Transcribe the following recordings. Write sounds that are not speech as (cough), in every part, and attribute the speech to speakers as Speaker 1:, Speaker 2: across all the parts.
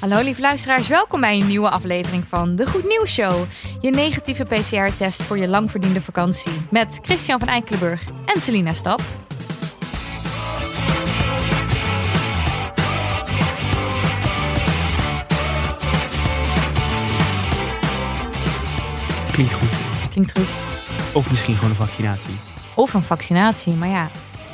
Speaker 1: Hallo lief luisteraars, welkom bij een nieuwe aflevering van De Goed Nieuws Show. Je negatieve PCR-test voor je langverdiende vakantie. Met Christian van Eikelenburg en Selina Stap.
Speaker 2: Klinkt goed.
Speaker 1: Klinkt goed.
Speaker 2: Of misschien gewoon een vaccinatie.
Speaker 1: Of een vaccinatie, maar ja,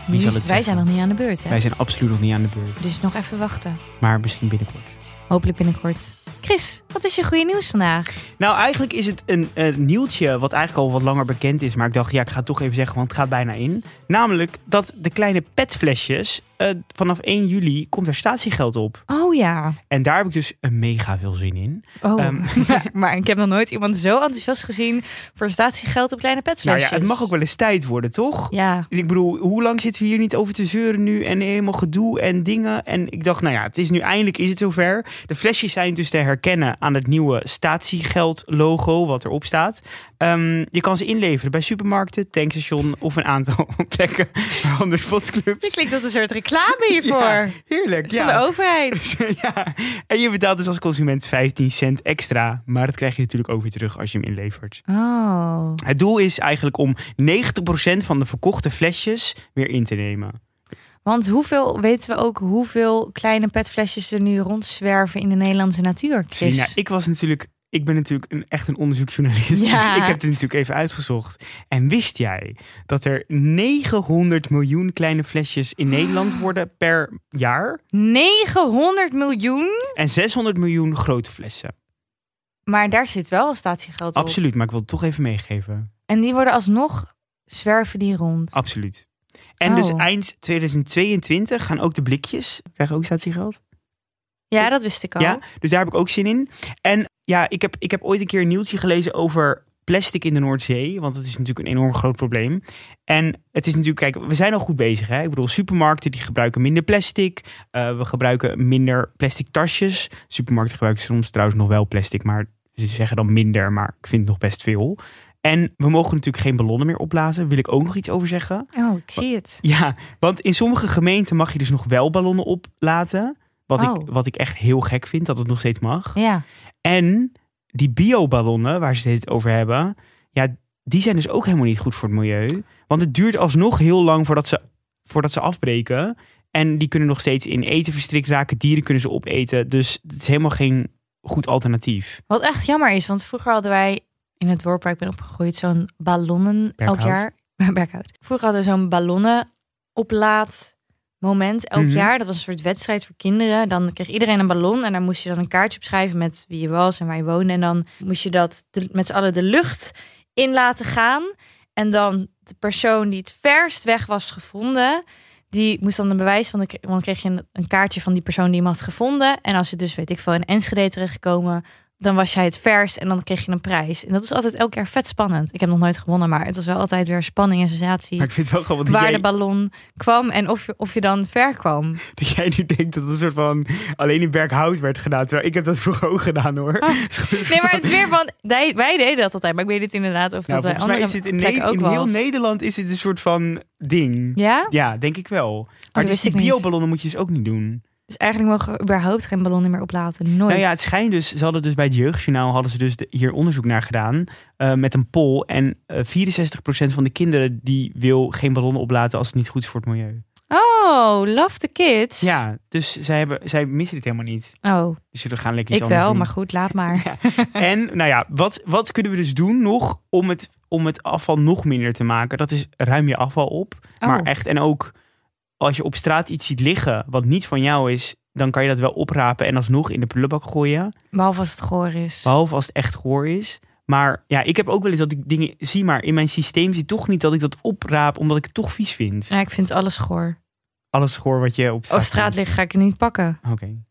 Speaker 1: nu
Speaker 2: zal
Speaker 1: is-
Speaker 2: het
Speaker 1: wij
Speaker 2: zeggen?
Speaker 1: zijn nog niet aan de beurt. Hè?
Speaker 2: Wij zijn absoluut nog niet aan de beurt.
Speaker 1: Dus nog even wachten.
Speaker 2: Maar misschien binnenkort.
Speaker 1: Hopelijk binnenkort. Chris, wat is je goede nieuws vandaag?
Speaker 2: Nou, eigenlijk is het een, eh, nieuwtje wat eigenlijk al wat langer bekend is. Maar ik dacht, ja, ik ga het toch even zeggen, want het gaat bijna in. Namelijk dat de kleine petflesjes, eh, vanaf 1 juli komt er statiegeld op.
Speaker 1: Oh ja.
Speaker 2: En daar heb ik dus eh, mega veel zin in.
Speaker 1: Oh,
Speaker 2: Ehm.
Speaker 1: (laughs) maar, maar ik heb nog nooit iemand zo enthousiast gezien voor statiegeld op kleine
Speaker 2: Nou
Speaker 1: petflesjes.
Speaker 2: ja, het mag ook wel eens tijd worden, toch?
Speaker 1: Ja,
Speaker 2: Ik bedoel, hoe lang zitten we hier niet over te zeuren nu en helemaal gedoe en dingen? En ik dacht, nou ja, het is nu eindelijk is het zover. De flesjes zijn dus te herkennen aan het nieuwe statiegeld logo wat erop staat. Ehm, je kan ze inleveren bij supermarkten, tankstation of een aantal (laughs) plekken, waaronder
Speaker 1: dit
Speaker 2: sportclubs.
Speaker 1: klinkt als een soort reclame hiervoor.
Speaker 2: (laughs) Ja, heerlijk,
Speaker 1: Van de
Speaker 2: ja.
Speaker 1: overheid.
Speaker 2: (laughs) ja. En je betaalt dus als consument 15 cent extra. Maar dat krijg je natuurlijk ook weer terug als je hem inlevert.
Speaker 1: Oh.
Speaker 2: Het doel is eigenlijk om 90% van de verkochte flesjes weer in te nemen.
Speaker 1: Want hoeveel, weten we ook hoeveel kleine petflesjes er nu rondzwerven in de Nederlandse natuur, Chris?
Speaker 2: Selina, Nou, ik was natuurlijk, ik ben natuurlijk een, echt een onderzoeksjournalist.
Speaker 1: Ja.
Speaker 2: Dus ik heb dit natuurlijk even uitgezocht. En wist jij dat er 900 miljoen kleine flesjes in
Speaker 1: Ah.
Speaker 2: Nederland worden per jaar?
Speaker 1: 900 miljoen?
Speaker 2: En 600 miljoen grote flessen.
Speaker 1: Maar daar zit wel al statiegeld op.
Speaker 2: Absoluut, maar ik wil het toch even meegeven.
Speaker 1: En die worden alsnog, zwerven die rond.
Speaker 2: Absoluut. En dus
Speaker 1: Oh.
Speaker 2: eind 2022 gaan ook de blikjes. Krijgen ook statiegeld?
Speaker 1: ja, dat wist ik al.
Speaker 2: Ja, dus daar heb ik ook zin in. En ja, ik heb, ik heb ooit een keer een nieuwtje gelezen over plastic in de Noordzee. Want dat is natuurlijk een enorm groot probleem. En het is natuurlijk, kijk, we zijn al goed bezig. Hè? Ik bedoel, supermarkten die gebruiken minder plastic. Eh, we gebruiken minder plastic tasjes. Supermarkten gebruiken soms trouwens nog wel plastic, maar ze zeggen dan minder. Maar ik vind het nog best veel. En we mogen natuurlijk geen ballonnen meer opblazen. Wil ik ook nog iets over zeggen.
Speaker 1: Oh, ik zie het.
Speaker 2: Ja, want in sommige gemeenten mag je dus nog wel ballonnen oplaten. Wat,
Speaker 1: Oh.
Speaker 2: ik, wat ik echt heel gek vind, dat het nog steeds mag.
Speaker 1: Ja.
Speaker 2: En die bioballonnen, waar ze het over hebben, ja, die zijn dus ook helemaal niet goed voor het milieu. Want het duurt alsnog heel lang voordat ze, voordat ze afbreken. En die kunnen nog steeds in eten verstrikt raken. Dieren kunnen ze opeten. Dus het is helemaal geen goed alternatief.
Speaker 1: Wat echt jammer is, want vroeger hadden wij in het dorp waar ik ben opgegroeid zo'n ballonnen
Speaker 2: Berkhout.
Speaker 1: elk jaar. (laughs) Berkhout. Vroeger hadden we zo'n ballonnen oplaat moment elk
Speaker 2: Mhm.
Speaker 1: jaar. Dat was een soort wedstrijd voor kinderen. Dan kreeg iedereen een ballon en daar moest je dan een kaartje op schrijven met wie je was en waar je woonde. En dan moest je dat de- met z'n allen de lucht in laten gaan. En dan de persoon die het verst weg was gevonden, die moest dan een bewijs van de, want dan kreeg je een, een kaartje van die persoon die hem had gevonden. En als het dus, weet ik veel, in Enschede terechtgekomen, dan was jij het verst en dan kreeg je een prijs. En dat is altijd elke keer vet spannend. Ik heb nog nooit gewonnen, maar het was wel altijd weer spanning en sensatie.
Speaker 2: Maar ik vind het wel gewoon dat,
Speaker 1: Waar
Speaker 2: jij,
Speaker 1: de ballon kwam en of je, of je dan ver kwam.
Speaker 2: dat jij nu denkt dat het een soort van alleen in Berkhout werd gedaan. Terwijl ik heb dat vroeger ook gedaan hoor.
Speaker 1: Ah.
Speaker 2: (laughs)
Speaker 1: Nee, maar het is weer van. Wij wij deden dat altijd. Maar ik weet het inderdaad of
Speaker 2: Nou,
Speaker 1: dat bij
Speaker 2: volgens mij
Speaker 1: andere
Speaker 2: is het in,
Speaker 1: plekken
Speaker 2: Ne-
Speaker 1: ook
Speaker 2: in
Speaker 1: wel
Speaker 2: heel
Speaker 1: eens.
Speaker 2: Nederland is het een soort van ding. Ja,
Speaker 1: Ja? Oh,
Speaker 2: denk ik wel.
Speaker 1: dat
Speaker 2: Maar dus
Speaker 1: wist
Speaker 2: die
Speaker 1: ik niet.
Speaker 2: bioballonnen moet je dus ook niet doen.
Speaker 1: Dus eigenlijk mogen we überhaupt geen ballonnen meer oplaten. Nooit.
Speaker 2: Nou ja, het schijnt dus, ze hadden dus bij het jeugdjournaal hadden ze dus de- hier onderzoek naar gedaan eh, met een poll. En eh 64% van de kinderen die wil geen ballonnen oplaten als het niet goed is voor het milieu.
Speaker 1: Oh, love the kids.
Speaker 2: Ja, dus zij, hebben, zij missen dit helemaal niet.
Speaker 1: Oh,
Speaker 2: Dus jullie gaan lekker
Speaker 1: ik
Speaker 2: iets
Speaker 1: wel,
Speaker 2: anders doen.
Speaker 1: maar goed, laat maar.
Speaker 2: En nou ja, wat, wat kunnen we dus doen nog om het, om het afval nog minder te maken? Dat is ruim je afval op. Maar
Speaker 1: Oh.
Speaker 2: echt, en ook als je op straat iets ziet liggen wat niet van jou is, dan kan je dat wel oprapen en alsnog in de prullenbak gooien.
Speaker 1: Behalve als het goor is.
Speaker 2: Behalve als het echt goor is. Maar ja, ik heb ook wel eens dat ik dingen zie, maar in mijn systeem zit toch niet dat ik dat opraap, omdat ik het toch vies vind.
Speaker 1: Ja, ik vind alles goor.
Speaker 2: Alles goor wat je op straat,
Speaker 1: Op straat
Speaker 2: vindt.
Speaker 1: liggen ga ik het niet pakken.
Speaker 2: Oké. Nou,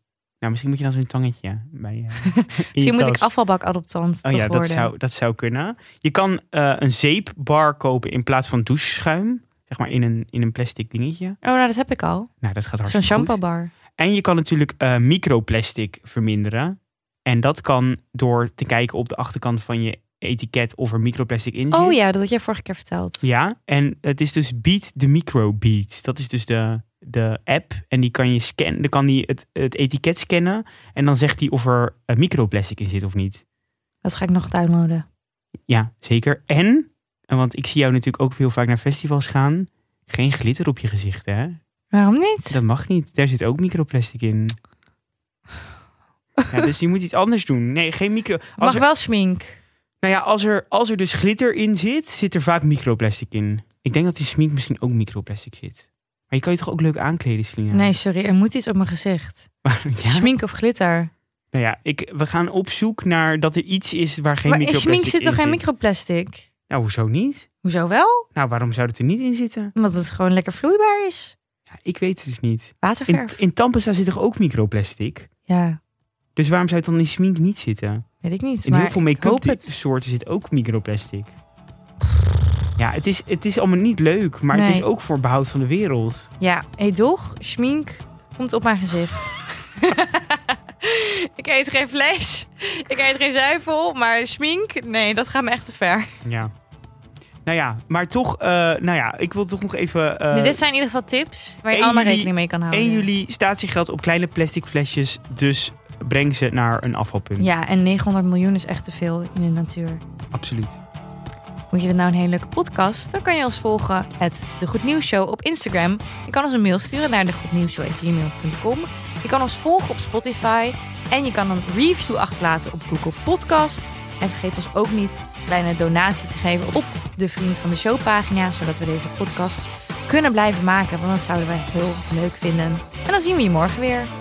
Speaker 2: misschien moet je dan zo'n tangetje
Speaker 1: (laughs)
Speaker 2: bij je. in je
Speaker 1: Misschien moet ik
Speaker 2: tas.
Speaker 1: afvalbakadoptant
Speaker 2: Oh
Speaker 1: toch
Speaker 2: ja, dat
Speaker 1: worden.
Speaker 2: zou, dat zou kunnen. Je kan eh, een zeepbar kopen in plaats van doucheschuim. Zeg maar in een, in een plastic dingetje.
Speaker 1: Oh, nou dat heb ik al.
Speaker 2: Nou, dat gaat
Speaker 1: Zo'n
Speaker 2: hartstikke goed.
Speaker 1: shampoo bar.
Speaker 2: En je kan natuurlijk eh, microplastic verminderen. En dat kan door te kijken op de achterkant van je etiket of er microplastic in zit.
Speaker 1: Oh ja, dat had jij vorige keer verteld.
Speaker 2: Ja, en het is dus beat the microbeat. Dat is dus de, de app en die kan je scannen, dan kan die het, het etiket scannen en dan zegt hij of er eh, microplastic in zit of niet.
Speaker 1: Dat ga ik nog downloaden.
Speaker 2: Ja, zeker. En, en want ik zie jou natuurlijk ook heel vaak naar festivals gaan, geen glitter op je gezicht, hè?
Speaker 1: Waarom niet?
Speaker 2: Dat mag niet. Daar zit ook microplastic in. Ja, dus je moet iets anders doen. Nee, geen micro. Als
Speaker 1: Mag
Speaker 2: er,
Speaker 1: wel smink.
Speaker 2: nou ja, als er, als er dus glitter in zit, zit er vaak microplastic in. Ik denk dat die smink misschien ook microplastic zit. Maar je kan je toch ook leuk aankleden, Selina?
Speaker 1: Nee, sorry. Er moet iets op mijn gezicht.
Speaker 2: Maar, (laughs) ja.
Speaker 1: Smink of glitter.
Speaker 2: Nou ja, ik, we gaan op zoek naar dat er iets is waar geen
Speaker 1: maar in
Speaker 2: microplastic
Speaker 1: smink zit
Speaker 2: in
Speaker 1: toch geen microplastic?
Speaker 2: Nou, hoezo niet?
Speaker 1: Hoezo wel?
Speaker 2: Nou, waarom zou het er niet in zitten?
Speaker 1: Omdat het gewoon lekker vloeibaar is.
Speaker 2: Ja, ik weet het dus niet. In,
Speaker 1: Waterverf.
Speaker 2: in Tampesta zit toch ook microplastic?
Speaker 1: Ja,
Speaker 2: Dus waarom zou het dan in smink niet zitten?
Speaker 1: weet ik niet.
Speaker 2: In
Speaker 1: maar
Speaker 2: heel veel
Speaker 1: ik hoop
Speaker 2: make-up
Speaker 1: het.
Speaker 2: soorten zit ook microplastic. Ja, het is, het is allemaal niet leuk, maar het
Speaker 1: Nee.
Speaker 2: is ook voor behoud van de wereld.
Speaker 1: Ja, hey, toch? Schmink komt op mijn gezicht. (laughs) ik eet geen vlees. Ik eet geen zuivel. Maar schmink, nee, dat gaat me echt te ver.
Speaker 2: Ja. Nou ja, maar toch, eh, nou ja, ik wil toch nog even. eh,
Speaker 1: Nee, dit nou, zijn in ieder geval tips waar je
Speaker 2: 1
Speaker 1: allemaal
Speaker 2: juli-
Speaker 1: rekening mee kan houden.
Speaker 2: 1 juli statiegeld op kleine plastic flesjes, dus breng ze naar een afvalpunt.
Speaker 1: Ja, en 900 miljoen is echt te veel in de natuur.
Speaker 2: Absoluut.
Speaker 1: Vond je dit nou een hele leuke podcast? Dan kan je ons volgen het De Goed Nieuws Show op Instagram. Je kan ons een mail sturen naar degoednieuwsshow.gmail.com. Je kan ons volgen op Spotify. En je kan een review achterlaten op Google Podcast. En vergeet ons ook niet een kleine donatie te geven op de Vriend van de Show pagina. Zodat we deze podcast kunnen blijven maken. Want dat zouden wij heel leuk vinden. En dan zien we je morgen weer.